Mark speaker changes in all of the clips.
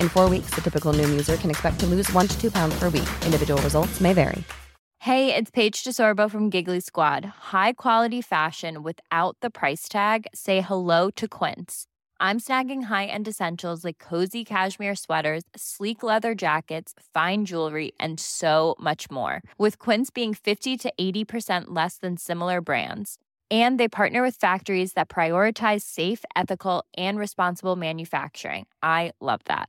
Speaker 1: In four weeks, the typical Noom user can expect to lose one to two pounds per week. Individual results may vary.
Speaker 2: Hey, it's Paige DeSorbo from Giggly Squad. High quality fashion without the price tag. Say hello to Quince. I'm snagging high-end essentials like cozy cashmere sweaters, sleek leather jackets, fine jewelry, and so much more. With Quince being 50 to 80% less than similar brands. And they partner with factories that prioritize safe, ethical, and responsible manufacturing. I love that.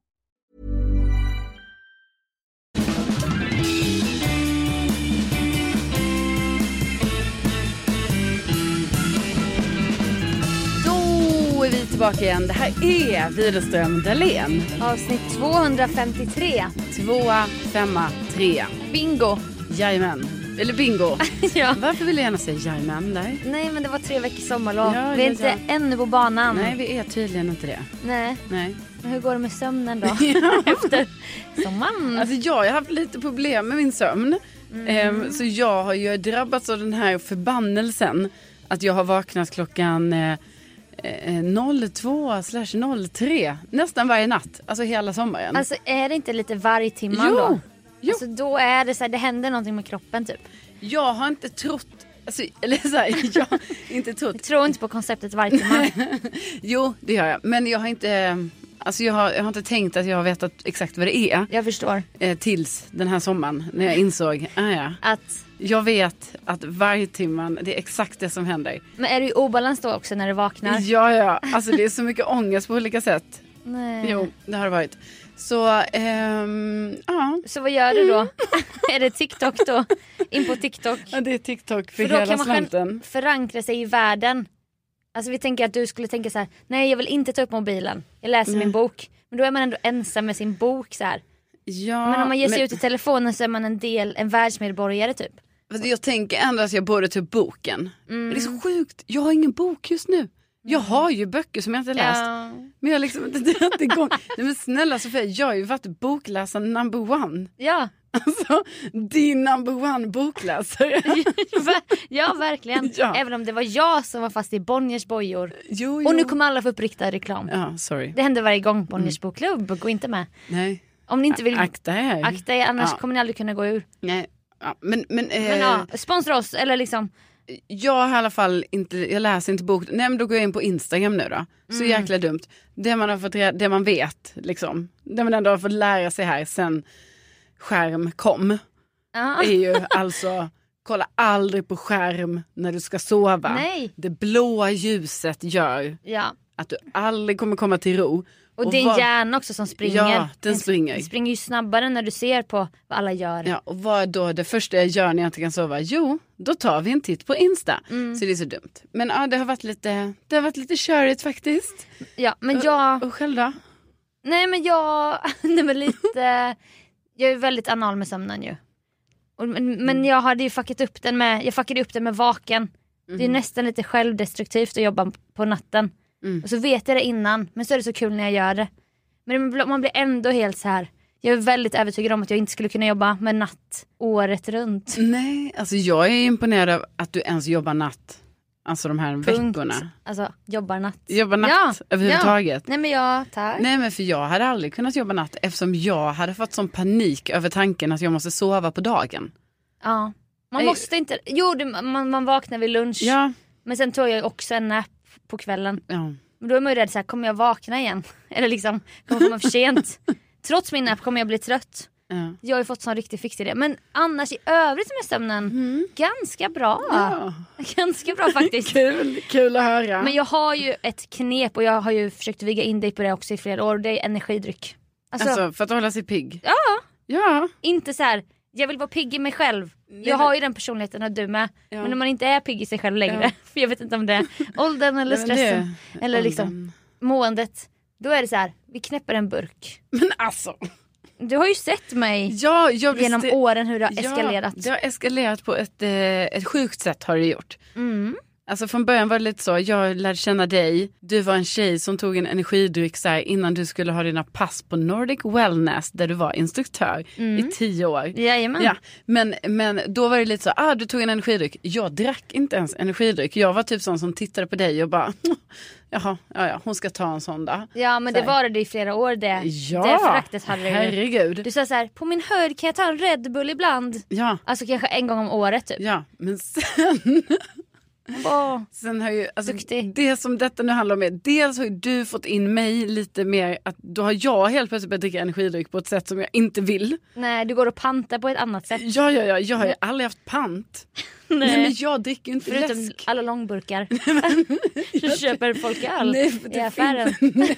Speaker 3: Då är vi tillbaka igen. Det här är Widerström Dahlén.
Speaker 4: Avsnitt 253.
Speaker 3: Tvåa, femma, trea.
Speaker 4: Bingo!
Speaker 3: Jajamän. Eller bingo.
Speaker 4: ja.
Speaker 3: Varför vill jag gärna säga jajamän där?
Speaker 4: Nej men det var tre veckors sommarlov.
Speaker 3: Ja,
Speaker 4: vi är
Speaker 3: ja,
Speaker 4: inte ännu på banan.
Speaker 3: Nej, vi är tydligen inte det.
Speaker 4: Nej.
Speaker 3: Nej.
Speaker 4: Men hur går det med sömnen då? Efter sommaren.
Speaker 3: Alltså jag har haft lite problem med min sömn.
Speaker 4: Mm.
Speaker 3: Ehm, så jag har ju drabbats av den här förbannelsen. Att jag har vaknat klockan eh, eh, 02 slash 03. Nästan varje natt. Alltså hela sommaren.
Speaker 4: Alltså är det inte lite vargtimmar
Speaker 3: Jo,
Speaker 4: då?
Speaker 3: jo.
Speaker 4: Alltså då är det så här, det händer någonting med kroppen typ.
Speaker 3: jag har inte trott. Alltså, eller så här, jag har inte trott.
Speaker 4: Jag tror inte på konceptet vargtimmar.
Speaker 3: Jo, det gör jag. Men jag har inte, eh, alltså jag har, jag har inte tänkt att jag har vetat exakt vad det är
Speaker 4: jag förstår.
Speaker 3: eh, tills den här sommaren när jag insåg, ah, ja,
Speaker 4: Att,
Speaker 3: jag vet att varje timman, det är exakt det som händer.
Speaker 4: men är du i obalans då också när du vaknar?
Speaker 3: Ja, ja, alltså det är så mycket ångest på olika sätt.
Speaker 4: Nej.
Speaker 3: Jo, det har det varit. Så, ehm, ja.
Speaker 4: Så vad gör du då? är det TikTok då? In på TikTok?
Speaker 3: Mm. ja, det är TikTok för,
Speaker 4: För då
Speaker 3: hela
Speaker 4: kan man själv
Speaker 3: slanten.
Speaker 4: förankra sig i världen. Alltså vi tänker att du skulle tänka så här, nej jag vill inte ta upp mobilen, jag läser min bok. Men då är man ändå ensam med sin bok så här.
Speaker 3: Ja,
Speaker 4: Men om man ger sig
Speaker 3: men-
Speaker 4: ut i telefonen så är man en del, en världsmedborgare typ.
Speaker 3: Fast jag tänker ändå att jag borde ta upp boken. Men det är
Speaker 4: Mm.
Speaker 3: så sjukt, jag har ingen bok just nu. Jag har ju böcker som jag inte läst.
Speaker 4: Ja.
Speaker 3: Men jag har liksom inte dragit igång. Nej men snälla Sofia, jag har ju varit bokläsare number one.
Speaker 4: Ja,
Speaker 3: Alltså din number one bokläsare.
Speaker 4: ver- ja verkligen.
Speaker 3: Ja.
Speaker 4: Även om det var jag som var fast i Bonniers bojor.
Speaker 3: Jo,
Speaker 4: Och nu
Speaker 3: jo.
Speaker 4: kommer alla få upp riktad reklam.
Speaker 3: Ja, sorry.
Speaker 4: Det händer varje gång Bonniers bokklubb, gå inte med.
Speaker 3: Nej.
Speaker 4: Om ni inte vill
Speaker 3: Akta er.
Speaker 4: akta er annars
Speaker 3: Ja.
Speaker 4: kommer ni aldrig kunna gå ur.
Speaker 3: Nej. Ja, men men, eh,
Speaker 4: Men ja, sponsra oss eller liksom
Speaker 3: jag har i alla fall inte, jag läser inte bok. Nej men då går jag in på Instagram nu då.
Speaker 4: Mm.
Speaker 3: Så jäkla dumt. Det man har fått reda, det man vet liksom. Det man ändå har fått lära sig här sen skärm kom.
Speaker 4: ja.
Speaker 3: är ju alltså kolla aldrig på skärm när du ska sova.
Speaker 4: Nej.
Speaker 3: Det blåa ljuset gör
Speaker 4: ja.
Speaker 3: att du aldrig kommer komma till ro.
Speaker 4: Och, din
Speaker 3: vad-
Speaker 4: hjärna också som springer.
Speaker 3: Ja, den springer.
Speaker 4: Den springer ju snabbare när du ser på vad alla gör.
Speaker 3: Ja, och vad är då det första jag gör när jag inte kan sova? Jo, då tar vi en titt på Insta.
Speaker 4: Mm.
Speaker 3: Så det är så dumt. Men ja, det har varit lite, det har varit lite körigt faktiskt.
Speaker 4: Ja, men jag...
Speaker 3: Och själv då?
Speaker 4: Nej men jag... Nej men lite... Jag är väldigt anal med sömnen ju. Och, men,
Speaker 3: Mm.
Speaker 4: men jag hade ju fuckat upp den med, jag fuckade upp den med vaken. Det är
Speaker 3: Mm.
Speaker 4: nästan lite självdestruktivt att jobba på natten.
Speaker 3: Mm.
Speaker 4: Och så vet jag det innan, men så är det så kul när jag gör det. Men det blir- man blir ändå helt så här. jag är väldigt övertygad om att jag inte skulle kunna jobba med natt året runt.
Speaker 3: Nej, alltså jag är imponerad av att du ens jobbar natt. Alltså de här veckorna.
Speaker 4: Alltså jobbar natt.
Speaker 3: Jobbar natt överhuvudtaget.
Speaker 4: Nej men ja, tack.
Speaker 3: Nej men för jag hade aldrig kunnat jobba natt eftersom jag hade fått sån panik över tanken att jag måste sova på dagen.
Speaker 4: Ja. Man
Speaker 3: Nej.
Speaker 4: måste inte, jo det, man, man vaknar vid lunch.
Speaker 3: Ja.
Speaker 4: Men sen tog jag ju också en nap på kvällen.
Speaker 3: ja.
Speaker 4: Men då är man ju rädd så här, kommer jag vakna igen? Eller liksom, kommer jag komma för sent? Trots min nap kommer jag bli trött.
Speaker 3: ja.
Speaker 4: Jag har ju fått sån riktig fix i det. Men annars i övrigt med sömnen,
Speaker 3: Mm.
Speaker 4: ganska bra. Ganska bra faktiskt.
Speaker 3: Kul, kul att höra.
Speaker 4: Men jag har ju ett knep och jag har ju försökt vigga in dig på det också i flera år. Det är energidryck. Alltså,
Speaker 3: Alltså för att hålla sig pigg.
Speaker 4: ja.
Speaker 3: Ja.
Speaker 4: Inte så här, jag vill vara pigg i mig själv. jag har ju den personligheten och du med. Men när man inte är pigg i sig själv längre, för jag vet inte om det är åldern eller
Speaker 3: Nej, men det Mm. är
Speaker 4: stressen eller liksom måendet. Då är det så här, vi knäpper en burk.
Speaker 3: Men alltså.
Speaker 4: Du har ju sett mig
Speaker 3: Ja, jag visste-
Speaker 4: genom åren hur det har eskalerat.
Speaker 3: Ja, det har eskalerat på ett, eh, ett sjukt sätt har det gjort.
Speaker 4: Mm.
Speaker 3: Alltså från början var det lite så, jag lärde känna dig, du var en tjej som tog en energidryck så här, innan du skulle ha dina pass på Nordic Wellness där du var instruktör i tio år.
Speaker 4: Mm. Jajamän.
Speaker 3: Ja, men, men då var det lite så, ah, du tog en energidryck. Jag drack inte ens energidryck. Jag var typ sån som tittade på dig och bara, jaha, ja, ja, hon ska ta en sån då.
Speaker 4: Ja men det
Speaker 3: Så här.
Speaker 4: var det i flera år det.
Speaker 3: Ja,
Speaker 4: det föraktet hade du. ju.
Speaker 3: herregud.
Speaker 4: Du sa så här, på min höjd kan jag ta en Red Bull ibland.
Speaker 3: Ja,
Speaker 4: Alltså kanske en gång om året typ.
Speaker 3: ja, men sen.
Speaker 4: Åh,
Speaker 3: Sen har ju, alltså,
Speaker 4: Duktig.
Speaker 3: det som detta nu handlar om är, dels har ju du fått in mig lite mer, att då har jag helt plötsligt börjat dricka energidryck på ett sätt som jag inte vill.
Speaker 4: nej du går och pantar på ett annat sätt.
Speaker 3: Ja, ja, ja, jag har ju aldrig haft pant. Nej, men jag dricker ju inte
Speaker 4: Förutom
Speaker 3: läsk.
Speaker 4: alla långburkar. Så köper folk öl
Speaker 3: Nej, för det
Speaker 4: i affären.
Speaker 3: finns- Nej,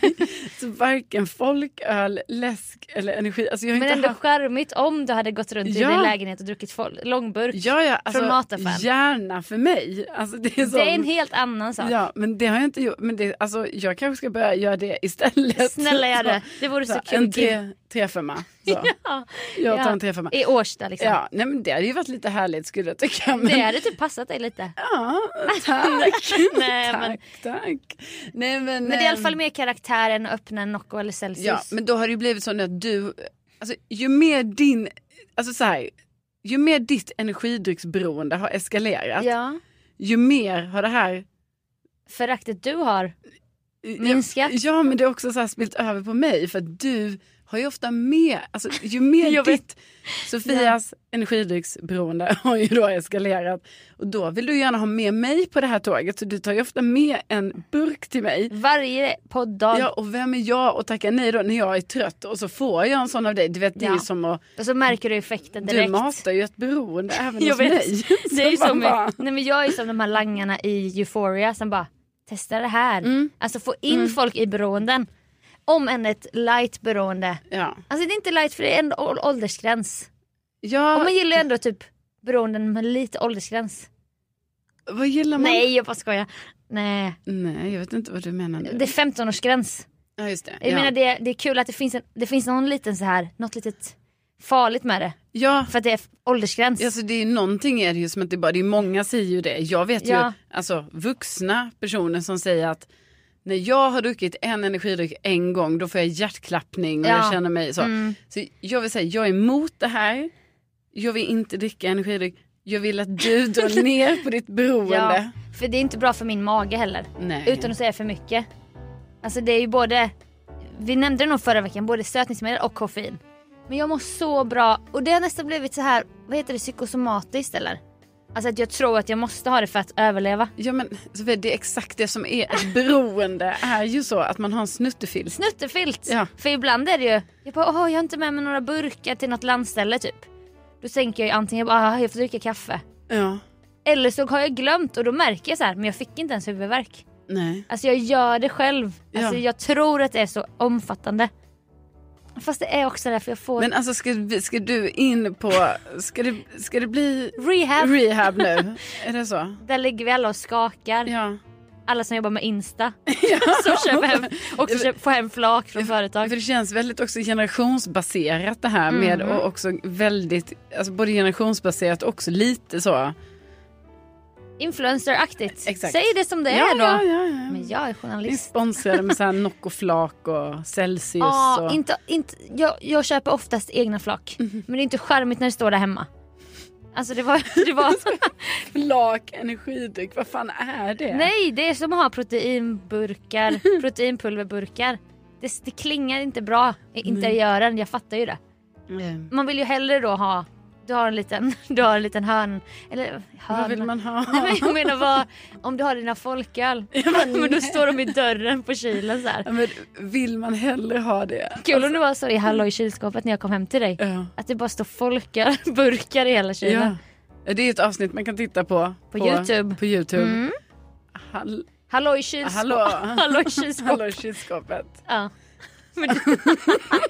Speaker 3: så varken folköl, läsk eller energi. Alltså jag har
Speaker 4: Men
Speaker 3: inte
Speaker 4: ändå
Speaker 3: haft...
Speaker 4: charmigt om du hade gått runt
Speaker 3: Ja.
Speaker 4: i din lägenhet och druckit fol- långburk.
Speaker 3: Ja, ja,
Speaker 4: från
Speaker 3: alltså,
Speaker 4: mataffären.
Speaker 3: gärna för mig. Alltså, det, är så...
Speaker 4: Det är en helt annan sak.
Speaker 3: Ja, men det har jag inte gjort. Men det, alltså, jag kanske ska börja göra det istället.
Speaker 4: Snälla gör det. Det vore så kul.
Speaker 3: En tre, trefemma. Så.
Speaker 4: Ja.
Speaker 3: Jag tar
Speaker 4: Ja.
Speaker 3: en trefemma.
Speaker 4: I Årsta liksom.
Speaker 3: Ja, nej, men det hade ju varit lite härligt skulle jag tycka. Men...
Speaker 4: Det hade typ passat dig lite.
Speaker 3: Ja, tack.
Speaker 4: Nej,
Speaker 3: tack,
Speaker 4: men-
Speaker 3: tack. Nej, men,
Speaker 4: Men det är i alla
Speaker 3: ehm,
Speaker 4: fall mer karaktär än att öppna en Nocco eller Celsius.
Speaker 3: Ja, men då har det ju blivit så nu att du, alltså ju mer din, alltså så här, ju mer ditt energidrycksberoende har eskalerat,
Speaker 4: Ja.
Speaker 3: ju mer har det här
Speaker 4: Föraktet du har. Minskat.
Speaker 3: Ja, men det har också så här spilt över på mig för att du har ju ofta med, alltså ju mer
Speaker 4: Jag vet.
Speaker 3: ditt, Sofias energidrycksberoende har ju då eskalerat och då vill du gärna ha med mig på det här tåget så du tar ju ofta med
Speaker 4: Mm.
Speaker 3: en burk till mig
Speaker 4: Varje podd-dag.
Speaker 3: Ja, och vem är jag att tacka nej då när jag är trött och så får jag en sån av dig. Du vet, det är
Speaker 4: Ja.
Speaker 3: ju som att
Speaker 4: Och så märker du effekten
Speaker 3: du
Speaker 4: direkt.
Speaker 3: matar ju ett beroende även
Speaker 4: Jag
Speaker 3: hos
Speaker 4: vet.
Speaker 3: mig.
Speaker 4: Det är ju
Speaker 3: Så man
Speaker 4: som,
Speaker 3: bara,
Speaker 4: nej, men jag är som de här langarna i Euphoria som bara testa det här.
Speaker 3: Mm.
Speaker 4: Alltså få in folk i beroenden. Om än ett light beroende.
Speaker 3: Ja.
Speaker 4: Alltså det är inte light för det är ändå å- åldersgräns.
Speaker 3: ja
Speaker 4: Och man gillar ju ändå typ beroenden med lite åldersgräns.
Speaker 3: vad gillar man?
Speaker 4: Nej jag bara skojar. Nej,
Speaker 3: Nej, jag vet inte vad du menar nu.
Speaker 4: det är 15-årsgräns.
Speaker 3: Ja, just det.
Speaker 4: Jag
Speaker 3: ja.
Speaker 4: menar det, det är kul att det finns, en, det finns någon liten så här, något litet farligt med det.
Speaker 3: ja.
Speaker 4: För att det är f- åldersgräns.
Speaker 3: Alltså det är någonting är det ju som att det bara, det är många säger ju det. Jag vet ju
Speaker 4: Ja.
Speaker 3: alltså vuxna personer som säger att när jag har druckit en energidryck en gång då får jag hjärtklappning och
Speaker 4: Ja. Mm.
Speaker 3: jag känner mig så. Så jag vill säga, jag är emot det här. Jag vill inte dricka energidryck. Jag vill att du drar ner på ditt beroende.
Speaker 4: Ja, för det är inte bra för min mage heller.
Speaker 3: Nej.
Speaker 4: Utan att säga för mycket. Alltså det är ju både, vi nämnde det nog förra veckan, både sötningsmedel och koffein. Men jag mår så bra och det har nästan blivit så här, vad heter det, psykosomatiskt eller? Alltså att jag tror att jag måste ha det för att överleva.
Speaker 3: Ja men Sofia, det är exakt det som är ett beroende. är ju så att man har en snuttefilt.
Speaker 4: Snuttefilt!
Speaker 3: Ja.
Speaker 4: För ibland är det ju, jag bara åh jag har inte med mig några burkar till något landställe typ. Då tänker jag ju antingen, jag bara, "Ah, jag får dricka kaffe.
Speaker 3: Ja.
Speaker 4: Eller så har jag glömt och då märker jag så här, men jag fick inte ens huvudvärk.
Speaker 3: Nej.
Speaker 4: Alltså jag gör det själv. Alltså
Speaker 3: Ja.
Speaker 4: jag tror att det är så omfattande. Fast det är också därför jag får
Speaker 3: Men alltså ska, vi- ska du in på, ska det, ska det bli
Speaker 4: rehab.
Speaker 3: Rehab nu, är det så?
Speaker 4: Där ligger vi alla och skakar.
Speaker 3: Ja.
Speaker 4: alla som jobbar med Insta som köper hem, också köper, får hem flak från företag.
Speaker 3: För det känns väldigt också generationsbaserat det här med
Speaker 4: Mm.
Speaker 3: och också väldigt, alltså både generationsbaserat och också lite så.
Speaker 4: Influenceraktigt.
Speaker 3: Exakt.
Speaker 4: Säg det som det
Speaker 3: ja,
Speaker 4: är då.
Speaker 3: ja, ja, ja.
Speaker 4: Men jag är
Speaker 3: Vi är
Speaker 4: journalist.
Speaker 3: sponsrade med så här Nocco flak och Celsius.
Speaker 4: Ja,
Speaker 3: och...
Speaker 4: inte, inte, jag, jag köper oftast egna flak.
Speaker 3: Mhm.
Speaker 4: Men det är inte charmigt när det står där hemma. Alltså det var... Det var
Speaker 3: Flak, energidryck, vad fan är det?
Speaker 4: nej, det är som att ha proteinburkar, proteinpulverburkar. Det, det klingar inte bra i interiören, jag fattar ju det.
Speaker 3: Mm.
Speaker 4: Man vill ju hellre då ha... Du har en liten, du har en liten hörn... Eller hörn...
Speaker 3: Vad vill man ha?
Speaker 4: Nej, men jag menar vad, om du har dina folköl. men då står de i dörren på kylen så här.
Speaker 3: Ja, men vill man hellre ha det?
Speaker 4: Kul om det var så i Hallå i kylskåpet när jag kom hem till dig.
Speaker 3: Ja.
Speaker 4: Att det bara står folkar, burkar i hela kylen.
Speaker 3: Ja. Det är ett avsnitt man kan titta på.
Speaker 4: På YouTube.
Speaker 3: På YouTube.
Speaker 4: Mm.
Speaker 3: Hall-
Speaker 4: Hallå i kylskåpet.
Speaker 3: Hallå.
Speaker 4: Hallå i kylskåpet.
Speaker 3: Hallå kylskåpet.
Speaker 4: Ja. Men du,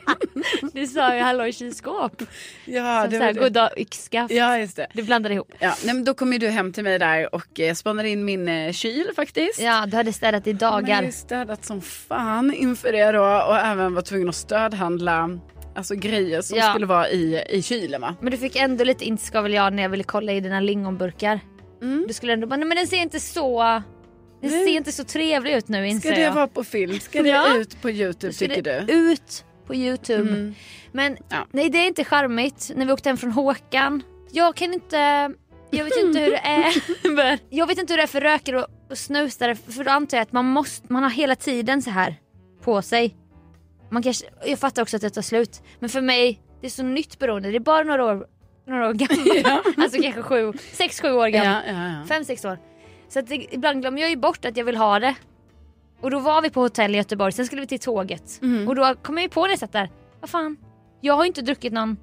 Speaker 4: du sa ju hallå i kylskåp.
Speaker 3: Ja,
Speaker 4: Som
Speaker 3: det
Speaker 4: så
Speaker 3: var
Speaker 4: här,
Speaker 3: det.
Speaker 4: goddag yxskaft.
Speaker 3: ja, just det.
Speaker 4: Du blandade ihop.
Speaker 3: Ja, nej, men då kom ju du hem till mig där och eh, spannade in min eh, kyl faktiskt.
Speaker 4: Ja, du hade städat i
Speaker 3: Men jag har
Speaker 4: dagar.
Speaker 3: ju städat som fan inför det då och även var tvungen att stödhandla alltså, grejer som
Speaker 4: Ja.
Speaker 3: skulle vara i, i kylen va?
Speaker 4: Men du fick ändå lite inskavel jag när jag ville kolla i dina lingonburkar.
Speaker 3: Mm.
Speaker 4: Du skulle ändå bara, nej men den ser inte så... Den
Speaker 3: Nej.
Speaker 4: ser inte så trevlig ut nu inser
Speaker 3: Ska det
Speaker 4: jag.
Speaker 3: vara på film? Ska det
Speaker 4: Ja.
Speaker 3: ut på YouTube
Speaker 4: Ska
Speaker 3: tycker
Speaker 4: det
Speaker 3: du?
Speaker 4: Ut på Youtube.
Speaker 3: Mm.
Speaker 4: Men
Speaker 3: Ja.
Speaker 4: nej det är inte charmigt när vi åkte hem från Håkan. Jag kan inte, jag vet inte hur det är. Men jag vet inte hur det är för rökare och, och snusare för då antar jag att man måste, man har hela tiden så här på sig. Man kanske, jag fattar också att det tar slut. Men för mig, det är så nytt beroende. Det är bara några år, några år gammalt. Alltså kanske sju, sex, sju år gammalt.
Speaker 3: Ja, ja, ja.
Speaker 4: Fem, sex år. Så att det, ibland glömmer jag ju bort att jag vill ha det. Och då var vi på hotell i Göteborg, sen skulle vi till tåget.
Speaker 3: Mm.
Speaker 4: Och då kom jag ju på när jag satt där, vad fan, jag har ju inte druckit någon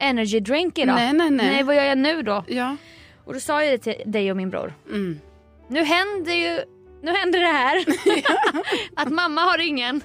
Speaker 4: energy drink idag.
Speaker 3: Nej, nej, nej.
Speaker 4: vad gör jag nu då?
Speaker 3: Ja.
Speaker 4: Och då sa jag det till dig och min bror.
Speaker 3: Mm.
Speaker 4: Nu händer ju, nu händer det här. att mamma har ingen,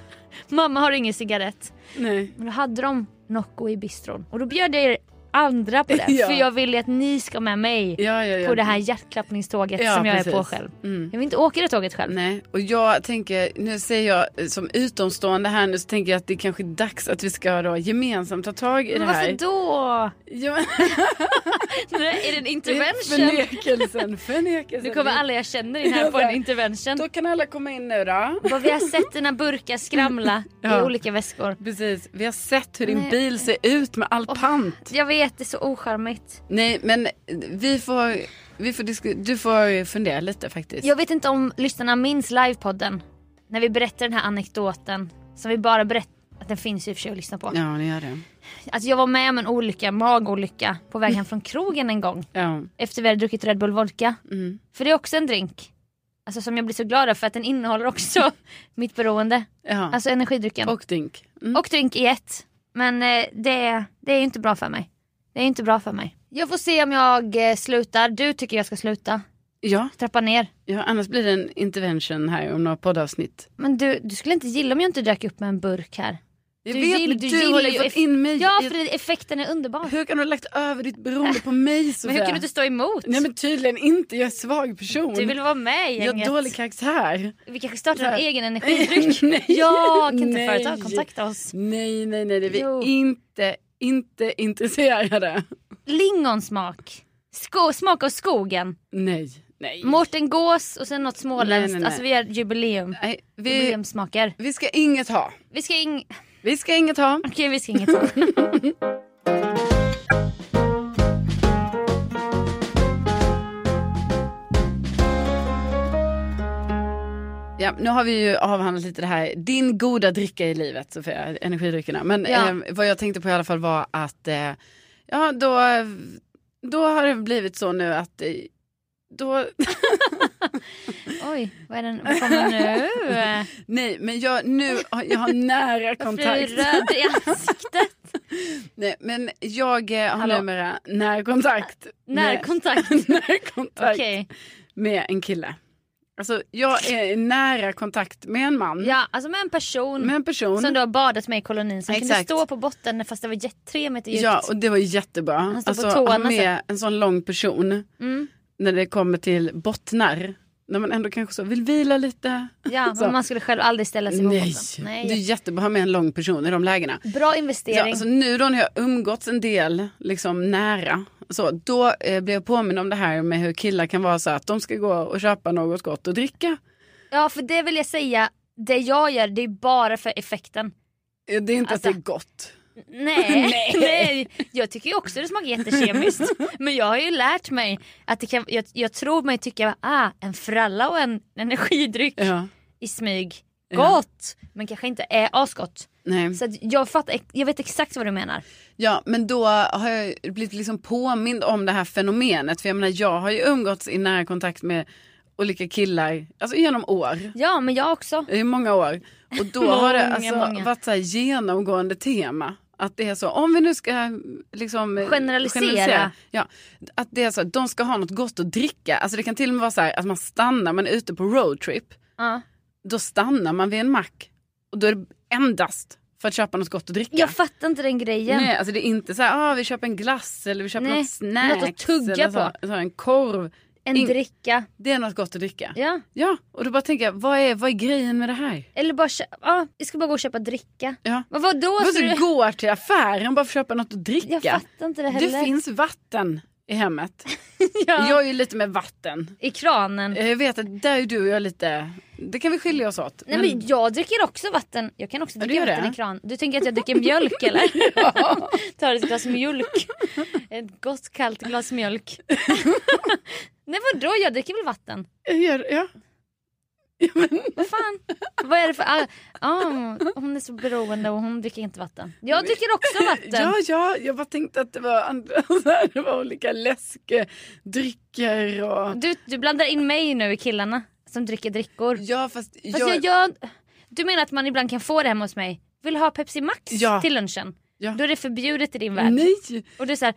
Speaker 4: mamma har ingen cigarett.
Speaker 3: Nej.
Speaker 4: Men då hade de Nocco i bistron. Och då bjöd jag er andra på det.
Speaker 3: Ja.
Speaker 4: För jag ville att ni ska med mig
Speaker 3: Ja, ja, ja.
Speaker 4: på det här hjärtklappningståget
Speaker 3: Ja,
Speaker 4: som jag är på
Speaker 3: precis.
Speaker 4: själv.
Speaker 3: Mm.
Speaker 4: Jag vill inte åka det tåget själv.
Speaker 3: Nej, och jag tänker, nu säger jag eh, som utomstående här nu så tänker jag att det kanske är dags att vi ska då gemensamt ta tag i
Speaker 4: Men
Speaker 3: det
Speaker 4: varför
Speaker 3: här.
Speaker 4: då?
Speaker 3: Ja, men-
Speaker 4: Nej, är det en intervention?
Speaker 3: Förnekelsen, förnekelsen.
Speaker 4: Nu kommer alla jag känner in här på en intervention.
Speaker 3: Då kan alla komma in nu då.
Speaker 4: Vad vi har sett dina burkar skramla i
Speaker 3: Ja.
Speaker 4: olika väskor.
Speaker 3: Precis, vi har sett hur din
Speaker 4: Nej.
Speaker 3: bil ser ut med all pant.
Speaker 4: Jag vet, det är så ocharmigt.
Speaker 3: Nej, men vi får, vi får disku- du får fundera lite faktiskt.
Speaker 4: Jag vet inte om lyssnarna minns livepodden. När vi berättar den här anekdoten. Som vi bara berättar. Att den finns ju i och för sig att lyssna på.
Speaker 3: Ja, ni gör det.
Speaker 4: Alltså jag var med om en olycka, magolycka. På väg hem från krogen en gång.
Speaker 3: Ja. mm.
Speaker 4: efter vi hade druckit Red Bull Vodka. För det är också en drink. Alltså som jag blir så glad av för att den innehåller också mitt beroende.
Speaker 3: ja.
Speaker 4: Alltså energidrycken. Och,
Speaker 3: och dink. Mm.
Speaker 4: drink i ett. Men eh, det, det är ju inte bra för mig. Det är inte bra för mig. Jag får se om jag eh, slutar. Du tycker jag ska sluta.
Speaker 3: Ja,
Speaker 4: Trappa ner.
Speaker 3: ja, annars blir det en intervention här om några poddavsnitt.
Speaker 4: Men du, du skulle inte gilla om jag inte dök upp med en burk här.
Speaker 3: Jag
Speaker 4: Du
Speaker 3: vet,
Speaker 4: gill-
Speaker 3: men
Speaker 4: du
Speaker 3: du,
Speaker 4: gillar
Speaker 3: har ju
Speaker 4: ju
Speaker 3: fått
Speaker 4: eff-
Speaker 3: in mig.
Speaker 4: Ja,
Speaker 3: i-
Speaker 4: för det- effekten är underbar.
Speaker 3: Hur kan du ha lagt över ditt beroende på mig
Speaker 4: Men
Speaker 3: Sofia?
Speaker 4: hur kan du inte stå emot?
Speaker 3: Nej men tydligen inte, jag är en svag person.
Speaker 4: Du vill vara med i
Speaker 3: jag har
Speaker 4: gänget.
Speaker 3: dålig karaktär.
Speaker 4: Vi kanske startar en
Speaker 3: Nej.
Speaker 4: egen energidryck.
Speaker 3: Nej.
Speaker 4: ja, kan inte
Speaker 3: Nej.
Speaker 4: företag kontakta oss?
Speaker 3: Nej, nej, nej, det är vi
Speaker 4: Jo.
Speaker 3: inte, inte intresserade.
Speaker 4: lingonsmak. Sko- smak av skogen.
Speaker 3: Nej, nej.
Speaker 4: Mårten Gås och sen något småländskt.
Speaker 3: Nej, nej, nej.
Speaker 4: Alltså vi har jubileum.
Speaker 3: nej vi,
Speaker 4: Jubileumsmaker.
Speaker 3: vi ska inget ha.
Speaker 4: Vi ska ing...
Speaker 3: Vi ska inget ha.
Speaker 4: Okej vi ska inget ha.
Speaker 3: Ja, nu har vi ju avhandlat lite det här, din goda dricka i livet Sofia, energidryckerna. Men
Speaker 4: Ja.
Speaker 3: eh, vad jag tänkte på i alla fall var att eh, ja, då, då har det blivit så nu att eh, då,
Speaker 4: Oj, vad är den? Vad kommer nu?
Speaker 3: nej men jag, nu, har- jag har nära
Speaker 4: Varför är
Speaker 3: kontakt.
Speaker 4: du röd i ansiktet?
Speaker 3: Nej, men jag eh, har
Speaker 4: Hallå?
Speaker 3: numera närkontakt.
Speaker 4: Närkontakt.
Speaker 3: Med, närkontakt
Speaker 4: Okej.
Speaker 3: med en kille. Alltså jag är i nära kontakt med en man,
Speaker 4: Ja, alltså med en person.
Speaker 3: med en person.
Speaker 4: Som du har badat med i kolonin som kunde
Speaker 3: Exakt.
Speaker 4: stå på botten fast det var jätte- tre meter djupt.
Speaker 3: Ja, och det var ju jättebra.
Speaker 4: står på
Speaker 3: Alltså
Speaker 4: tårna
Speaker 3: ha med en sån lång person
Speaker 4: Mm.
Speaker 3: när det kommer till bottnar. När man ändå kanske så vill vila lite.
Speaker 4: Ja,
Speaker 3: Så.
Speaker 4: men man skulle själv aldrig ställa sig mot
Speaker 3: Nej.
Speaker 4: botten.
Speaker 3: det är
Speaker 4: Nej.
Speaker 3: jättebra att ha med en lång person i de lägena.
Speaker 4: Bra
Speaker 3: Ja,
Speaker 4: investering.
Speaker 3: alltså nu då när jag umgåtts en del liksom nära, så, då eh, blev jag påminn om det här med hur killar kan vara så att de ska gå och köpa något gott att dricka.
Speaker 4: Ja för det vill jag säga, det jag gör det är bara för effekten.
Speaker 3: Eh, Det är inte
Speaker 4: Alltså-
Speaker 3: att det är gott.
Speaker 4: Nej, nej. jag tycker ju också det smakar jättekemiskt. Men jag har ju lärt mig att det kan, jag, jag tror mig tycka ah, en fralla och en energidryck
Speaker 3: Ja,
Speaker 4: i smyg.
Speaker 3: Ja. Mm.
Speaker 4: Gott! Men kanske inte är asgott.
Speaker 3: nej.
Speaker 4: Så att jag, fattar, ex- jag vet exakt vad du menar.
Speaker 3: Ja, men då har jag blivit liksom påmind om det här fenomenet. För jag menar, jag har ju umgåtts i nära kontakt med olika killar, alltså genom år.
Speaker 4: Ja men jag också.
Speaker 3: I många år. Och då har det
Speaker 4: Många,
Speaker 3: alltså
Speaker 4: många.
Speaker 3: varit så här genomgående tema. Att det är så, om vi nu ska liksom eh,
Speaker 4: Generalisera.
Speaker 3: ja, att det är så, att de ska ha något gott att dricka. Alltså det kan till och med vara så här att man stannar, man är ute på roadtrip.
Speaker 4: Ja.
Speaker 3: Då stannar man vid en mack. Och då är det endast för att köpa något gott att dricka.
Speaker 4: Jag fattar inte den grejen.
Speaker 3: Nej, alltså det är inte så här, ah, vi köper en glass eller vi köper
Speaker 4: Nej,
Speaker 3: något snacks.
Speaker 4: något att tugga
Speaker 3: eller så,
Speaker 4: på.
Speaker 3: Så, här, en korv.
Speaker 4: En
Speaker 3: In-
Speaker 4: dricka.
Speaker 3: Det är något gott att dricka. Ja,
Speaker 4: Ja.
Speaker 3: och då bara tänker jag, vad är, vad är grejen med det här?
Speaker 4: Eller bara kö- ja, jag ska bara gå och köpa dricka.
Speaker 3: Ja.
Speaker 4: Men vadå?
Speaker 3: Måste
Speaker 4: Så
Speaker 3: du
Speaker 4: du...
Speaker 3: går till affären bara för att köpa något att
Speaker 4: Jag
Speaker 3: dricka.
Speaker 4: fattar inte det
Speaker 3: Det,
Speaker 4: heller.
Speaker 3: finns vatten i hemmet.
Speaker 4: ja.
Speaker 3: Jag Eh, är ju lite med vatten.
Speaker 4: I kranen.
Speaker 3: Jag vet att där är du och jag lite, det kan vi skilja oss åt.
Speaker 4: Nej men jag dricker också vatten. Jag kan också
Speaker 3: Ja, du
Speaker 4: dricka
Speaker 3: gör
Speaker 4: vatten
Speaker 3: det?
Speaker 4: i kran. Du tänker att jag dricker mjölk eller? Tar ett glas mjölk. Ett gott kallt glas mjölk. Nej vadå? Jag dricker väl vatten?
Speaker 3: Jag gör, ja. Ja, men,
Speaker 4: Vad fan? Vad är det för... Ah, ah, hon är så beroende och hon dricker inte vatten. Jag dricker också vatten.
Speaker 3: ja, ja, jag bara tänkte att det var, andra, så här, det var olika läskedrycker och...
Speaker 4: Du, du blandar in mig nu i killarna som dricker drickor.
Speaker 3: Ja, fast,
Speaker 4: Fast jag, gör- du menar att man ibland kan få det hemma hos mig? Vill ha Pepsi Max
Speaker 3: Ja.
Speaker 4: till lunchen?
Speaker 3: Ja.
Speaker 4: Då är det förbjudet i din värld.
Speaker 3: Nej!
Speaker 4: Och du är så här,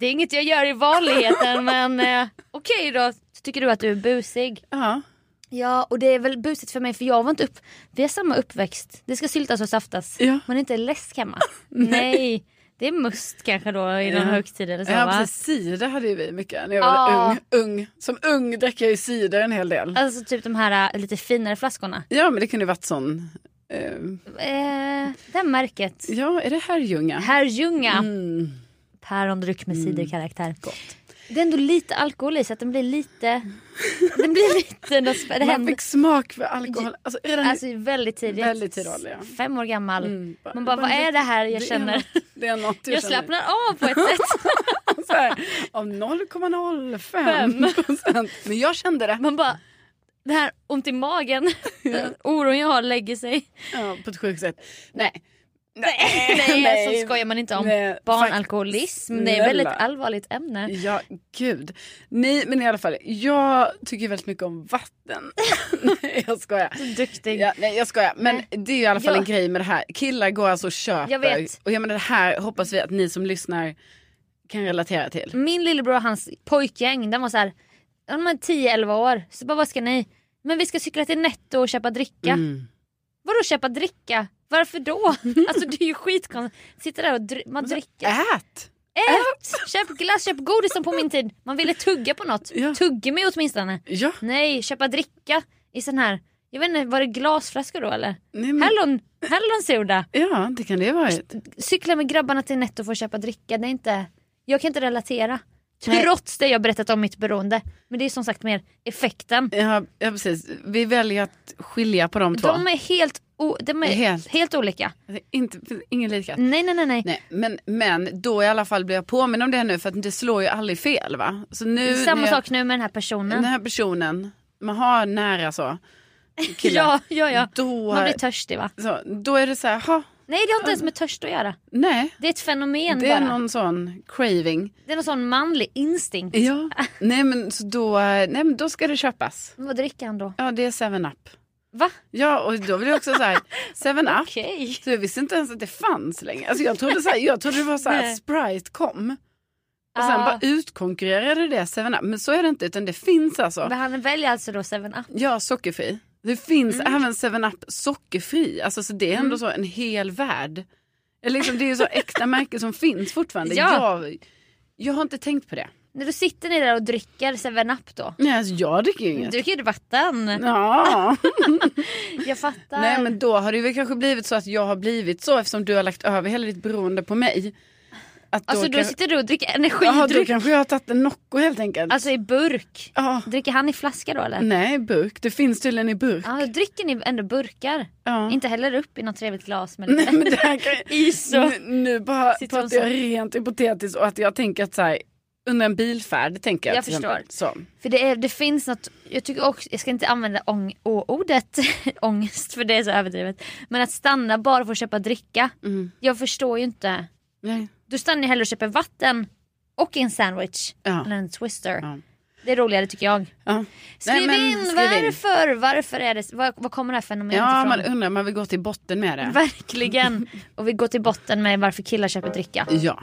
Speaker 4: det är inget jag gör i vanligheten men eh, okej då. Så tycker du att du är busig.
Speaker 3: Ja.
Speaker 4: Ja och det är väl busigt för mig för jag var inte upp, vi har samma uppväxt. Det ska syltas och saftas.
Speaker 3: Ja.
Speaker 4: Men inte läsk hemma. Nej. Det är must kanske då i någon
Speaker 3: Ja.
Speaker 4: högtid eller så
Speaker 3: ja,
Speaker 4: va?
Speaker 3: precis. Cider hade ju vi mycket när jag var
Speaker 4: Ja.
Speaker 3: ung. ung. Som ung drack jag ju cider en hel del.
Speaker 4: Alltså typ de här eh, lite finare flaskorna.
Speaker 3: Ja, men det kunde ju varit sån... Eh,
Speaker 4: Eh, det här märket.
Speaker 3: ja, är det Herrljunga?
Speaker 4: Herrljunga.
Speaker 3: Mm.
Speaker 4: Pärondryck med ciderkaraktär. Det är ändå lite alkohol i så att den blir lite... den blir lite... något spä- Det
Speaker 3: Man
Speaker 4: händer
Speaker 3: fick smak för alkohol. Alltså, redan
Speaker 4: alltså, väldigt tidigt.
Speaker 3: Väldigt tidig ålder, ja.
Speaker 4: Fem år gammal.
Speaker 3: Mm.
Speaker 4: Man bara, vad är det här jag känner?
Speaker 3: Är något, det är något du
Speaker 4: Jag
Speaker 3: känner.
Speaker 4: slappnar av på ett sätt.
Speaker 3: Så här, Av 0,05 procent. Men jag kände det.
Speaker 4: Man bara, det här ont i magen. Oron jag har lägger sig.
Speaker 3: Ja, på ett sjukt sätt. Nej.
Speaker 4: Nej,
Speaker 3: nej.
Speaker 4: så skojar man inte om.
Speaker 3: Nej,
Speaker 4: Barnalkoholism, det är ett
Speaker 3: snälla.
Speaker 4: väldigt allvarligt ämne.
Speaker 3: Ja, gud. Nej, men i alla fall, jag tycker väldigt mycket om vatten. nej, jag skojar.
Speaker 4: Duktig.
Speaker 3: Ja, nej, jag skojar. Men
Speaker 4: Nej.
Speaker 3: det är ju i alla fall
Speaker 4: Ja.
Speaker 3: en grej med det här. Killar går alltså och köper.
Speaker 4: Jag vet.
Speaker 3: Och jag menar, det här hoppas vi att ni som lyssnar kan relatera till.
Speaker 4: Min lillebror och hans pojkgäng, de var så här, de var 10-11 år. Så bara, vad ska ni? Men vi ska cykla till Netto och köpa dricka.
Speaker 3: Mm.
Speaker 4: Vadå köpa dricka? Varför då? Alltså det är ju skitkonstigt. Sitta där och dr- man dricker.
Speaker 3: Mm. Ät!
Speaker 4: Ät! Köp glass, köp godis som på min tid. Man ville tugga på något.
Speaker 3: Ja.
Speaker 4: Tuggummi åtminstone.
Speaker 3: Ja.
Speaker 4: Nej, köpa dricka i sån här, jag vet inte, var det glasflaskor då eller?
Speaker 3: Nej, men,
Speaker 4: Hallon, hallonsoda.
Speaker 3: ja, det kan det ha varit.
Speaker 4: Cykla med grabbarna till Netto för att köpa dricka, det är inte, jag kan inte relatera. Trots det jag berättat om mitt beroende. Men det är som sagt mer effekten.
Speaker 3: Ja, ja, precis. Vi väljer att skilja på de två.
Speaker 4: De är helt, o- de är helt.
Speaker 3: Helt.
Speaker 4: olika.
Speaker 3: Alltså, inte, ingen likhet.
Speaker 4: Nej, nej, nej, nej.
Speaker 3: Nej, men, men då i alla fall blir jag påminn om det nu för att det slår ju aldrig fel va? Så nu,
Speaker 4: Samma
Speaker 3: när jag,
Speaker 4: sak nu med den här personen.
Speaker 3: Den här personen man har nära så, killar,
Speaker 4: Ja, ja, ja.
Speaker 3: då,
Speaker 4: Man blir törstig va?
Speaker 3: så, då är det så här, ha,
Speaker 4: Nej det har inte ens med törst att göra.
Speaker 3: nej.
Speaker 4: Det är ett fenomen
Speaker 3: Det är
Speaker 4: bara.
Speaker 3: någon sån craving.
Speaker 4: Det är någon sån manlig instinkt.
Speaker 3: Ja. nej, men, så då, nej men då ska det köpas.
Speaker 4: Vad dricker han då?
Speaker 3: Ja det är 7-Up.
Speaker 4: Va?
Speaker 3: Ja och då blir det också så här, 7-Up.
Speaker 4: Okej.
Speaker 3: Så jag visste inte ens att det fanns längre. Alltså jag trodde, så här, jag trodde det var så här
Speaker 4: Nej.
Speaker 3: att Sprite kom. Och sen
Speaker 4: Ah.
Speaker 3: bara utkonkurrerade det 7-Up. Men så är det inte utan det finns alltså.
Speaker 4: Men han väljer alltså då 7-Up.
Speaker 3: Ja, sockerfri. Det finns
Speaker 4: Mm.
Speaker 3: även 7-Up sockerfri. Alltså, så det är ändå så en hel värld. Eller liksom, det är ju så äkta märken som finns fortfarande.
Speaker 4: Ja.
Speaker 3: Jag, jag har inte tänkt på det.
Speaker 4: När du sitter ni där och dricker 7-Up då?
Speaker 3: Nej, alltså jag dricker ju inget.
Speaker 4: Du kan ju vatten.
Speaker 3: Ja.
Speaker 4: Jag fattar.
Speaker 3: Nej men då har det väl kanske blivit så att jag har blivit så eftersom du har lagt över hela ditt beroende på mig. Att
Speaker 4: alltså då
Speaker 3: kan-
Speaker 4: sitter du och dricker
Speaker 3: Jaha, då
Speaker 4: energidryck.
Speaker 3: kanske jag har tagit en Nocco helt enkelt.
Speaker 4: Alltså i burk.
Speaker 3: ja.
Speaker 4: Dricker han i flaska då eller?
Speaker 3: Nej, burk. Det finns tydligen i burk.
Speaker 4: Ja, då dricker ni ändå burkar?
Speaker 3: Ja.
Speaker 4: Inte heller upp i något trevligt glas men,
Speaker 3: Nej men det här kan
Speaker 4: is och...
Speaker 3: nu, nu bara
Speaker 4: Sitter hon
Speaker 3: pratar jag rent hypotetiskt och att jag tänker att så här, under en bilfärd tänker jag
Speaker 4: Jag
Speaker 3: till exempel. Så.
Speaker 4: För det, är, det finns något, jag tycker också, jag ska inte använda ång, ordet ångest för det är så överdrivet. Men att stanna bara för att köpa dricka.
Speaker 3: Mm.
Speaker 4: Jag förstår ju inte.
Speaker 3: Nej.
Speaker 4: Du stannar ju hellre och köper vatten och en sandwich.
Speaker 3: Ja.
Speaker 4: Eller en twister.
Speaker 3: Ja.
Speaker 4: Det är roligare tycker jag.
Speaker 3: Ja.
Speaker 4: Skriv,
Speaker 3: men
Speaker 4: in,
Speaker 3: skriv in.
Speaker 4: varför, varför är det, var, var kommer det här fenomenet
Speaker 3: Ja,
Speaker 4: ifrån?
Speaker 3: man undrar, man vill gå till botten med det.
Speaker 4: Verkligen. Och vi går till botten med varför killar köper dricka.
Speaker 3: Ja.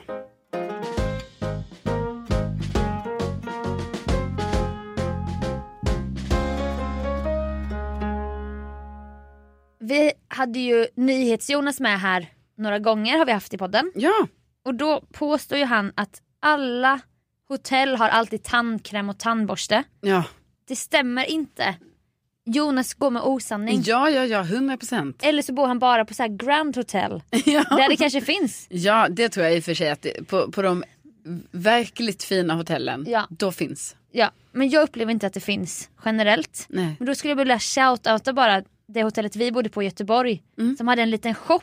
Speaker 4: Vi hade ju NyhetsJonas med här några gånger har vi haft i podden.
Speaker 3: Ja.
Speaker 4: Och då påstår ju han att alla hotell har alltid tandkräm och tandborste.
Speaker 3: Ja.
Speaker 4: Det stämmer inte. Jonas går med osanning.
Speaker 3: Ja, ja, ja, 100 procent.
Speaker 4: Eller så bor han bara på så här Grand Hotel.
Speaker 3: Ja.
Speaker 4: Där det kanske finns.
Speaker 3: ja, det tror jag i och för sig att det, på, på de verkligt fina hotellen,
Speaker 4: Ja.
Speaker 3: då finns.
Speaker 4: Ja, men jag upplever inte att det finns generellt.
Speaker 3: Nej.
Speaker 4: Men då skulle jag vilja shoutouta bara det hotellet vi bodde på i Göteborg.
Speaker 3: Mm.
Speaker 4: Som hade en liten shop.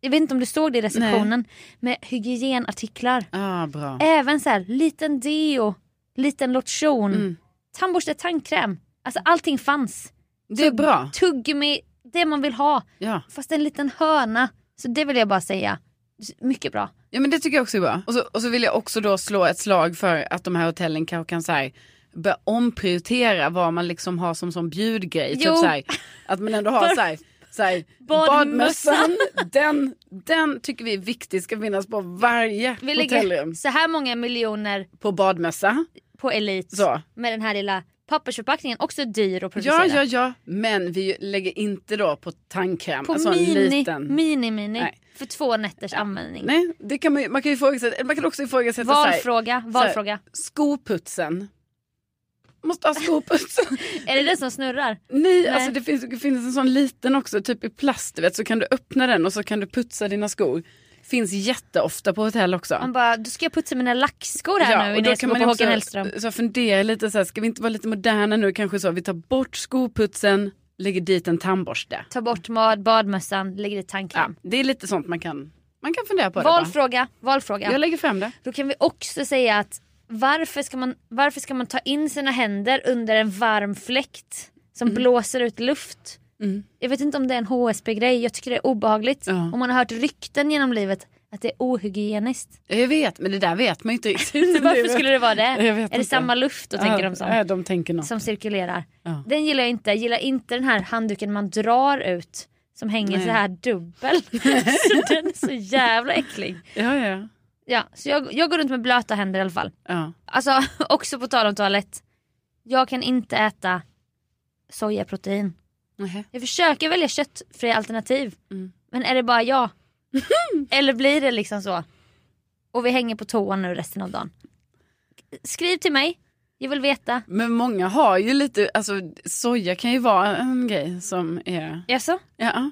Speaker 4: Jag vet inte om du såg det i receptionen. Med hygienartiklar.
Speaker 3: Ja, ah, bra.
Speaker 4: Även så här liten deo, liten lotion,
Speaker 3: Mm.
Speaker 4: tandborste, tandkräm. Alltså allting fanns.
Speaker 3: Det är bra.
Speaker 4: Tuggummi, det man vill ha.
Speaker 3: Ja.
Speaker 4: Fast en liten hörna. Så det vill jag bara säga. Mycket bra.
Speaker 3: ja, men det tycker jag också är bra. Och så, och så vill jag också då slå ett slag för att de här hotellen kanske kan så här, börja omprioritera vad man liksom har som, som bjudgrej.
Speaker 4: Jo.
Speaker 3: Typ så här, att man ändå har så här, så här,
Speaker 4: Badmössan.
Speaker 3: badmössan, den, den tycker vi är viktig ska finnas på varje
Speaker 4: Vi
Speaker 3: hotellrum.
Speaker 4: lägger så här många miljoner
Speaker 3: På badmössa.
Speaker 4: på Elite.
Speaker 3: Så.
Speaker 4: Med den här lilla pappersförpackningen. Också dyr att producera.
Speaker 3: Ja, ja, ja. Men vi lägger inte då på tandkräm.
Speaker 4: På
Speaker 3: alltså en
Speaker 4: mini,
Speaker 3: liten.
Speaker 4: mini, mini.
Speaker 3: Nej.
Speaker 4: För två nätters användning.
Speaker 3: Nej, det kan man, ju, man kan ju ifrågasätta. eller Man kan också ifrågasätta så här,
Speaker 4: Valfråga,
Speaker 3: så här,
Speaker 4: valfråga.
Speaker 3: skoputsen. Måste ha skoputsen.
Speaker 4: Är det den som snurrar?
Speaker 3: Nej,
Speaker 4: Nej.
Speaker 3: alltså det finns, det finns en sån liten också, typ i plast du vet, så kan du öppna den och så kan du putsa dina skor. Finns jätteofta på hotell också.
Speaker 4: Man bara, då ska jag putsa mina lackskor här nu innan jag ska gå på
Speaker 3: ju
Speaker 4: Håkan Hellström.
Speaker 3: så fundera lite så här, ska vi inte vara lite moderna nu kanske så, vi tar bort skoputsen, lägger dit en tandborste.
Speaker 4: Ta bort mad, badmössan, lägger i
Speaker 3: Ja,
Speaker 4: tandkräm.
Speaker 3: det är lite sånt man kan, man kan fundera på. det bara.
Speaker 4: valfråga, valfråga.
Speaker 3: Jag lägger fram det.
Speaker 4: Då kan vi också säga att varför ska man, varför ska man ta in sina händer under en varm fläkt som
Speaker 3: Mm.
Speaker 4: blåser ut luft? Jag vet inte om det är en HSB-grej, jag tycker det är obehagligt.
Speaker 3: Ja.
Speaker 4: Och man har hört rykten genom livet att det är ohygieniskt.
Speaker 3: Jag vet, men det där vet man ju inte
Speaker 4: Så
Speaker 3: riktigt.
Speaker 4: varför skulle det vara det?
Speaker 3: Jag vet
Speaker 4: Är det
Speaker 3: inte.
Speaker 4: samma luft då tänker de som?
Speaker 3: Ja, de tänker något.
Speaker 4: som cirkulerar.
Speaker 3: Ja.
Speaker 4: Den gillar jag inte. Jag gillar inte den här handduken man drar ut som hänger
Speaker 3: Nej.
Speaker 4: så här dubbel. så den är så jävla äcklig.
Speaker 3: Ja, ja, ja.
Speaker 4: Ja, så jag, jag går runt med blöta händer i alla fall.
Speaker 3: ja.
Speaker 4: Alltså också på tal om toalett. Jag kan inte äta sojaprotein.
Speaker 3: Nähä.
Speaker 4: Jag försöker välja köttfria alternativ.
Speaker 3: Mm.
Speaker 4: Men är det bara jag? Eller blir det liksom så? Och vi hänger på toan nu resten av dagen. Skriv till mig. Jag vill veta.
Speaker 3: Men många har ju lite, alltså soja kan ju vara en grej som är,
Speaker 4: Jaså?
Speaker 3: ja.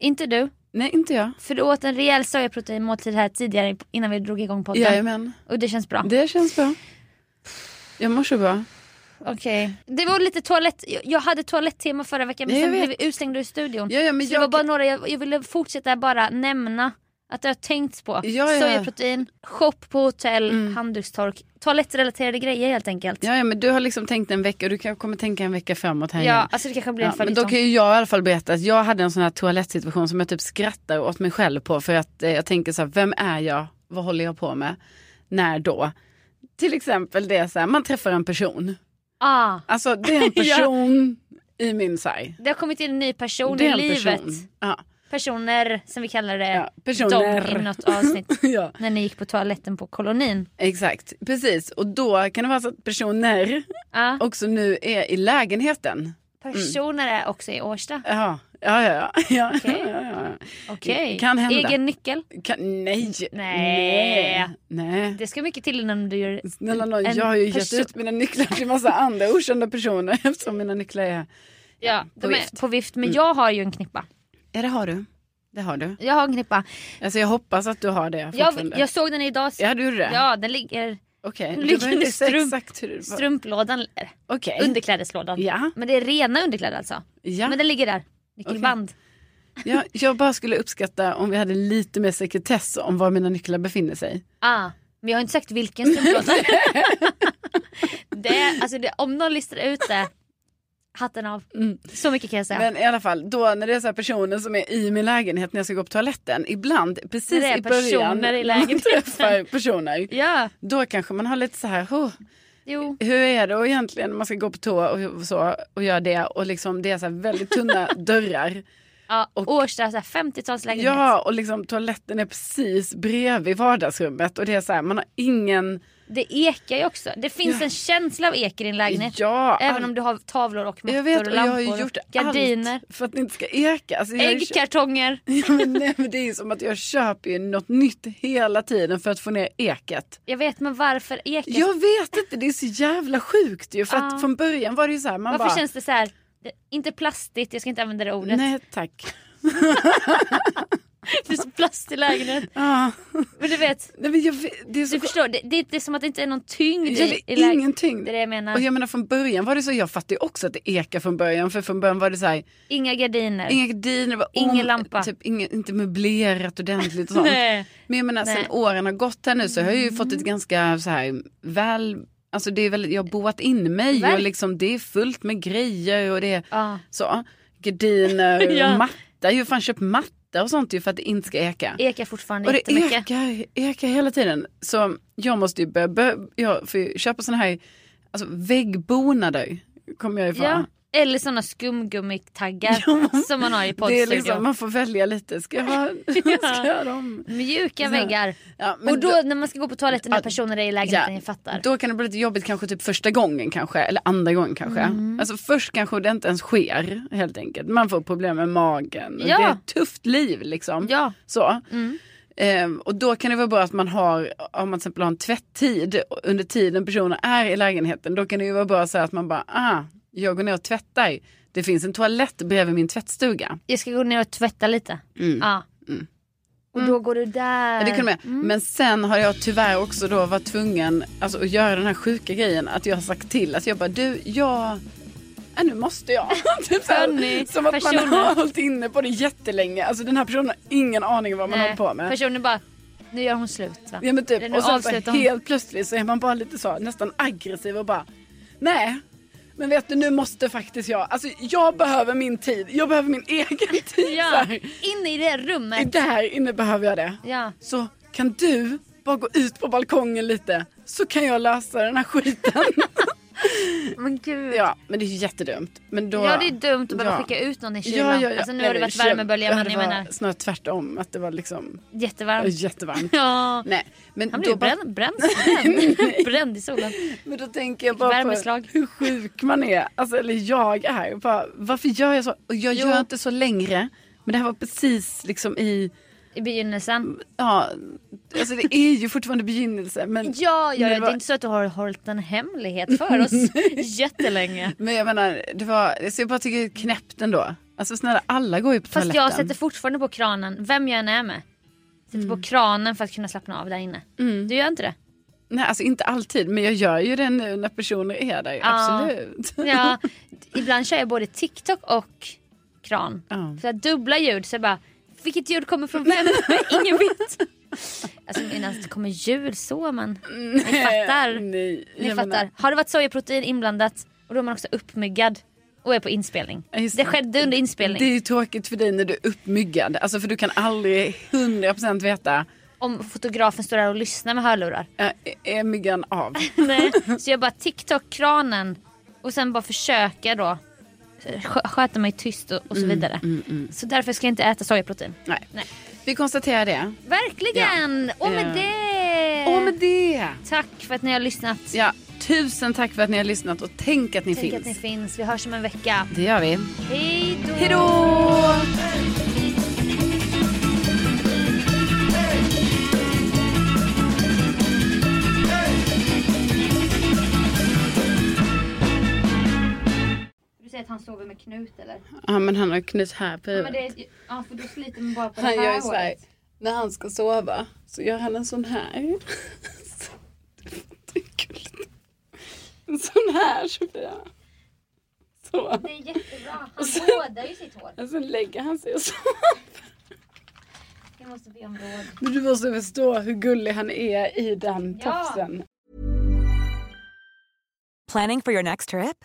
Speaker 4: Inte du?
Speaker 3: Nej, inte jag.
Speaker 4: För du åt en rejäl sojaproteinmåltid här tidigare innan vi drog igång podden.
Speaker 3: Jajamän,
Speaker 4: Och det känns bra.
Speaker 3: det känns bra. Jag mår så bra.
Speaker 4: Okej. Det var lite toalett, jag- jag hade toaletttema förra veckan men
Speaker 3: Ja, jag
Speaker 4: sen blev
Speaker 3: vet.
Speaker 4: vi utslängda ur studion.
Speaker 3: Ja, ja, men
Speaker 4: Så det var
Speaker 3: jag-
Speaker 4: bara några, jag, jag ville fortsätta bara nämna att det har tänkts på.
Speaker 3: Ja, ja. Mm.
Speaker 4: Sojaprotein, shop på hotell, handdukstork, toalettrelaterade grejer helt enkelt.
Speaker 3: Ja, ja, men du har liksom tänkt en vecka och du kanske kommer tänka en vecka framåt här igen.
Speaker 4: Ja, alltså det kanske blir en
Speaker 3: Ja, men då
Speaker 4: följetong.
Speaker 3: kan ju jag i alla fall berätta att jag hade en sån här toalettsituation som jag typ skrattar åt mig själv på för att eh, jag tänker så här, vem är jag, vad håller jag på med, när då? Till exempel det är så här, man träffar en person,
Speaker 4: ah,
Speaker 3: alltså det är en person i min sarg.
Speaker 4: det har kommit in en ny person
Speaker 3: Det är
Speaker 4: i
Speaker 3: en
Speaker 4: livet.
Speaker 3: person. Ja,
Speaker 4: Personer som vi kallar det.
Speaker 3: ja,
Speaker 4: Dom i
Speaker 3: personer.
Speaker 4: något avsnitt.
Speaker 3: ja,
Speaker 4: när ni gick på toaletten på kolonin.
Speaker 3: exakt, precis. Och då kan det vara så att personer
Speaker 4: Ah.
Speaker 3: också nu är i lägenheten.
Speaker 4: Personer är också i Årsta.
Speaker 3: Ja, Ja, ja, ja. ja,
Speaker 4: Okej.
Speaker 3: ja, ja, ja.
Speaker 4: Okej.
Speaker 3: Kan hända.
Speaker 4: Egen nyckel.
Speaker 3: Kan, nej.
Speaker 4: Nej.
Speaker 3: Nej.
Speaker 4: Det ska mycket till innan du gör...
Speaker 3: Snälla nån,
Speaker 4: En
Speaker 3: jag har ju gett
Speaker 4: person-
Speaker 3: ut mina nycklar till massa andra okända personer eftersom mina nycklar är...
Speaker 4: Ja, de
Speaker 3: på
Speaker 4: är
Speaker 3: vift. Mm.
Speaker 4: på vift. Men jag har ju en knippa.
Speaker 3: Ja, det har du. Det har du.
Speaker 4: Jag har en knippa.
Speaker 3: Alltså jag hoppas att du har det fortfarande.
Speaker 4: Jag, jag såg den idag.
Speaker 3: Ja, du gjorde det?
Speaker 4: Ja, den ligger...
Speaker 3: Okej,
Speaker 4: Nu
Speaker 3: du
Speaker 4: ligger
Speaker 3: behöver
Speaker 4: det
Speaker 3: inte säga
Speaker 4: strump-
Speaker 3: exakt hur det var.
Speaker 4: Strumplådan.
Speaker 3: Okej.
Speaker 4: Underklädeslådan.
Speaker 3: Ja,
Speaker 4: Men det är rena underkläder alltså.
Speaker 3: ja.
Speaker 4: Men den ligger där. Nyckelband.
Speaker 3: ja. Jag bara skulle uppskatta om vi hade lite mer sekretess om var mina nycklar befinner sig.
Speaker 4: Ah, men jag har inte sagt vilken strumplåda. det, alltså det, om någon listar ut det, hatten av.
Speaker 3: Mm.
Speaker 4: Så mycket kan jag säga.
Speaker 3: Men i alla fall, då när det är så här personer som är i min lägenhet när jag ska gå på toaletten, ibland
Speaker 4: När
Speaker 3: precis
Speaker 4: det är
Speaker 3: i början
Speaker 4: personer i
Speaker 3: när man
Speaker 4: lägenheten.
Speaker 3: träffar personer,
Speaker 4: ja,
Speaker 3: då kanske man har lite så här, "Åh,
Speaker 4: jo.
Speaker 3: hur är det egentligen när man ska gå på toa och så och gör det och liksom det är så här väldigt tunna dörrar.
Speaker 4: Ja,
Speaker 3: Och-
Speaker 4: Årsta, så här 50-talslägenhet.
Speaker 3: Ja, och liksom toaletten är precis bredvid vardagsrummet och det är så här, man har ingen...
Speaker 4: Det ekar ju också. Det finns en känsla av ek i din lägenhet.
Speaker 3: Ja,
Speaker 4: Även
Speaker 3: all-
Speaker 4: om du har tavlor och mattor
Speaker 3: jag vet
Speaker 4: och
Speaker 3: och jag
Speaker 4: lampor
Speaker 3: har ju gjort
Speaker 4: och gardiner.
Speaker 3: allt för att det inte ska eka. Alltså, jag har ju kö-
Speaker 4: Äggkartonger.
Speaker 3: Ja, men, nej, men det är ju som att jag köper ju något nytt hela tiden för att få ner eket.
Speaker 4: Jag vet men varför ekar?
Speaker 3: Jag vet inte, det är så jävla sjukt ju. För
Speaker 4: Ja.
Speaker 3: att från början var det ju så här, man
Speaker 4: varför
Speaker 3: bara...
Speaker 4: känns det så här? det- Inte plastigt, jag ska inte använda det ordet.
Speaker 3: Nej tack.
Speaker 4: Det är så plast i lägenheten.
Speaker 3: Ah.
Speaker 4: Men du vet,
Speaker 3: Nej, men jag, vet- det är så
Speaker 4: du förstår, det, det, det är som att det inte är någon tyngd
Speaker 3: Jag
Speaker 4: i,
Speaker 3: vet
Speaker 4: i lägenheten.
Speaker 3: ingenting.
Speaker 4: Det är det jag menar.
Speaker 3: Och jag menar från början var det så, jag fattar ju också att det ekar från början. För från början var det så här,
Speaker 4: Inga gardiner.
Speaker 3: inga gardiner, var
Speaker 4: Ingen lampa.
Speaker 3: Typ, inga, inte möblerat ordentligt och sånt.
Speaker 4: Nej.
Speaker 3: Men jag menar sen
Speaker 4: Nej. Mm.
Speaker 3: åren har gått här nu så har jag ju fått ett ganska så här väl, alltså det är väl, jag har boat in mig och
Speaker 4: Verk-
Speaker 3: liksom det är fullt med grejer och det är
Speaker 4: Ja.
Speaker 3: så. Gardiner,
Speaker 4: Ja.
Speaker 3: och matta, jag har ju fan köpt matta och sånt ju för att det inte ska eka.
Speaker 4: Ekar fortfarande
Speaker 3: Och det
Speaker 4: jättemycket.
Speaker 3: ekar, ekar hela tiden. Så jag måste ju börja, börja jag får ju köpa såna här alltså väggbonader kommer jag ifrån.
Speaker 4: Ja. Eller sådana skumgummitaggar som man har i
Speaker 3: Det är
Speaker 4: poddstudion.
Speaker 3: liksom, man får välja lite, ska jag ha, ska jag ha dem?
Speaker 4: Mjuka
Speaker 3: Så-
Speaker 4: väggar.
Speaker 3: Ja, men
Speaker 4: Och då, när man ska gå på toaletten när
Speaker 3: Ja,
Speaker 4: personer är i lägenheten, jag fattar.
Speaker 3: Då kan det bli lite jobbigt kanske typ första gången kanske, eller andra gången kanske.
Speaker 4: Mm.
Speaker 3: Alltså först kanske det inte ens sker helt enkelt. Man får problem med magen. och
Speaker 4: Ja.
Speaker 3: Det är ett tufft liv liksom.
Speaker 4: Ja.
Speaker 3: Så.
Speaker 4: Mm.
Speaker 3: Ehm, och då kan det vara bra att man har, om man till exempel har en tvätttid under tiden personen är i lägenheten, då kan det ju vara bra så här att man bara, ah, jag går ner och tvättar. Det finns en toalett bredvid min tvättstuga.
Speaker 4: Jag ska gå ner och tvätta lite.
Speaker 3: Mm.
Speaker 4: Ja.
Speaker 3: Mm.
Speaker 4: Och då går du där.
Speaker 3: Ja, det kunde jag.
Speaker 4: Mm.
Speaker 3: Men sen har jag tyvärr också då varit tvungen alltså, att göra den här sjuka grejen att jag har sagt till att jag bara du, jag, ja, nu måste jag. typ så
Speaker 4: Funny
Speaker 3: här, som att man
Speaker 4: personer.
Speaker 3: har hållit inne på det jättelänge. Alltså den här personen har ingen aning om vad man
Speaker 4: Nej.
Speaker 3: håller på med.
Speaker 4: Personen bara, nu gör hon slut va?
Speaker 3: Ja, men
Speaker 4: Eller
Speaker 3: typ.
Speaker 4: nu
Speaker 3: Och sen
Speaker 4: avslutar
Speaker 3: bara,
Speaker 4: hon.
Speaker 3: helt plötsligt så är man bara lite så nästan aggressiv och bara nej. Men vet du nu måste faktiskt jag, alltså jag behöver min tid, jag behöver min egen tid. så
Speaker 4: Ja,
Speaker 3: här.
Speaker 4: inne i det
Speaker 3: I-
Speaker 4: rummet.
Speaker 3: Där inne behöver jag det.
Speaker 4: Ja.
Speaker 3: Så kan du bara gå ut på balkongen lite så kan jag lösa den här skiten.
Speaker 4: Men gud.
Speaker 3: ja, men det är ju jättedumt. Men då...
Speaker 4: Ja det är dumt att behöva
Speaker 3: Ja.
Speaker 4: skicka ut någon i kylan. Alltså nu har det
Speaker 3: Eller
Speaker 4: varit
Speaker 3: kyl-
Speaker 4: värmebölja
Speaker 3: Ja,
Speaker 4: men
Speaker 3: det
Speaker 4: jag
Speaker 3: var
Speaker 4: menar
Speaker 3: Snarare tvärtom, att det var liksom
Speaker 4: jättevarmt.
Speaker 3: jättevarmt.
Speaker 4: Ja.
Speaker 3: Nej, men
Speaker 4: Han
Speaker 3: då,
Speaker 4: blev ju
Speaker 3: bara-
Speaker 4: bränd, bränd, bränd. bränd i solen.
Speaker 3: men då tänker jag bara på
Speaker 4: Värmeslag.
Speaker 3: hur sjuk man är. Alltså, eller jag är. Bara, varför gör jag så? Och jag
Speaker 4: Jo.
Speaker 3: gör inte så längre. Men det här var precis liksom i...
Speaker 4: I
Speaker 3: Mm.
Speaker 4: begynnelsen.
Speaker 3: Ja, alltså det är ju fortfarande begynnelse. Men
Speaker 4: Ja, ja,
Speaker 3: Men det
Speaker 4: ja. det
Speaker 3: var-
Speaker 4: är inte så att du har hållit en hemlighet för oss jättelänge.
Speaker 3: Men jag menar, det var, så jag bara tycker det är knäppt ändå. Alltså snälla, alla går ju på
Speaker 4: Fast
Speaker 3: toaletten. Mm.
Speaker 4: jag sätter fortfarande på kranen, vem jag än är med. Sätter på kranen för att kunna slappna av där inne. Du gör inte det?
Speaker 3: Nej, alltså inte alltid, men jag gör ju det nu när personer är där. Absolut.
Speaker 4: Ja, ibland kör jag både TikTok och kran.
Speaker 3: Ja.
Speaker 4: Så jag dubbla ljud så jag bara, vilket ljud kommer från vem? Ingen vet. Alltså menar att det kommer ljud så men
Speaker 3: Mm.
Speaker 4: ni fattar.
Speaker 3: Nej,
Speaker 4: Ni
Speaker 3: jag
Speaker 4: fattar.
Speaker 3: menar-
Speaker 4: Har det varit sojaprotein inblandat och då är man också uppmyggad och är på inspelning.
Speaker 3: Ja, just
Speaker 4: Det
Speaker 3: det.
Speaker 4: skedde under inspelning.
Speaker 3: Det är ju tråkigt för dig när du är uppmyggad. Alltså för du kan aldrig 100% veta,
Speaker 4: Om fotografen står där och lyssnar med hörlurar.
Speaker 3: äh, är myggan av?
Speaker 4: Nej. Så jag bara TikTok-kranen och sen bara försöka då eh, skö- sköta mig tyst och,
Speaker 3: Mm,
Speaker 4: och så vidare. Så därför ska jag inte äta sojaprotein.
Speaker 3: Nej.
Speaker 4: Nej.
Speaker 3: Vi konstaterar det.
Speaker 4: Verkligen! Och med
Speaker 3: Eh.
Speaker 4: det!
Speaker 3: Och med det!
Speaker 4: Tack för att ni har lyssnat.
Speaker 3: Ja, Tusen tack för att ni har lyssnat och tänk att ni
Speaker 4: Tänk att
Speaker 3: finns.
Speaker 4: ni finns. Vi hörs om en vecka.
Speaker 3: Det gör vi.
Speaker 4: Hej då!
Speaker 3: Hej då!
Speaker 4: Du säger att han sover med knut eller?
Speaker 3: Ja men han har knut här på
Speaker 4: Ja, men
Speaker 3: huvudet.
Speaker 4: det är, ja för då sliter man bara på det
Speaker 3: Han gör
Speaker 4: här
Speaker 3: så här,
Speaker 4: håret.
Speaker 3: när han ska sova så gör han en sån här. Så, det är gulligt. En sån här Sofia. Så.
Speaker 4: Det är jättebra. Han vårdar ju sitt hår.
Speaker 3: Och sen lägger han sig och så.
Speaker 4: Jag måste be om råd.
Speaker 3: Men du måste förstå hur gullig han är i den
Speaker 4: Ja.
Speaker 3: tofsen.
Speaker 5: Planning for your next trip?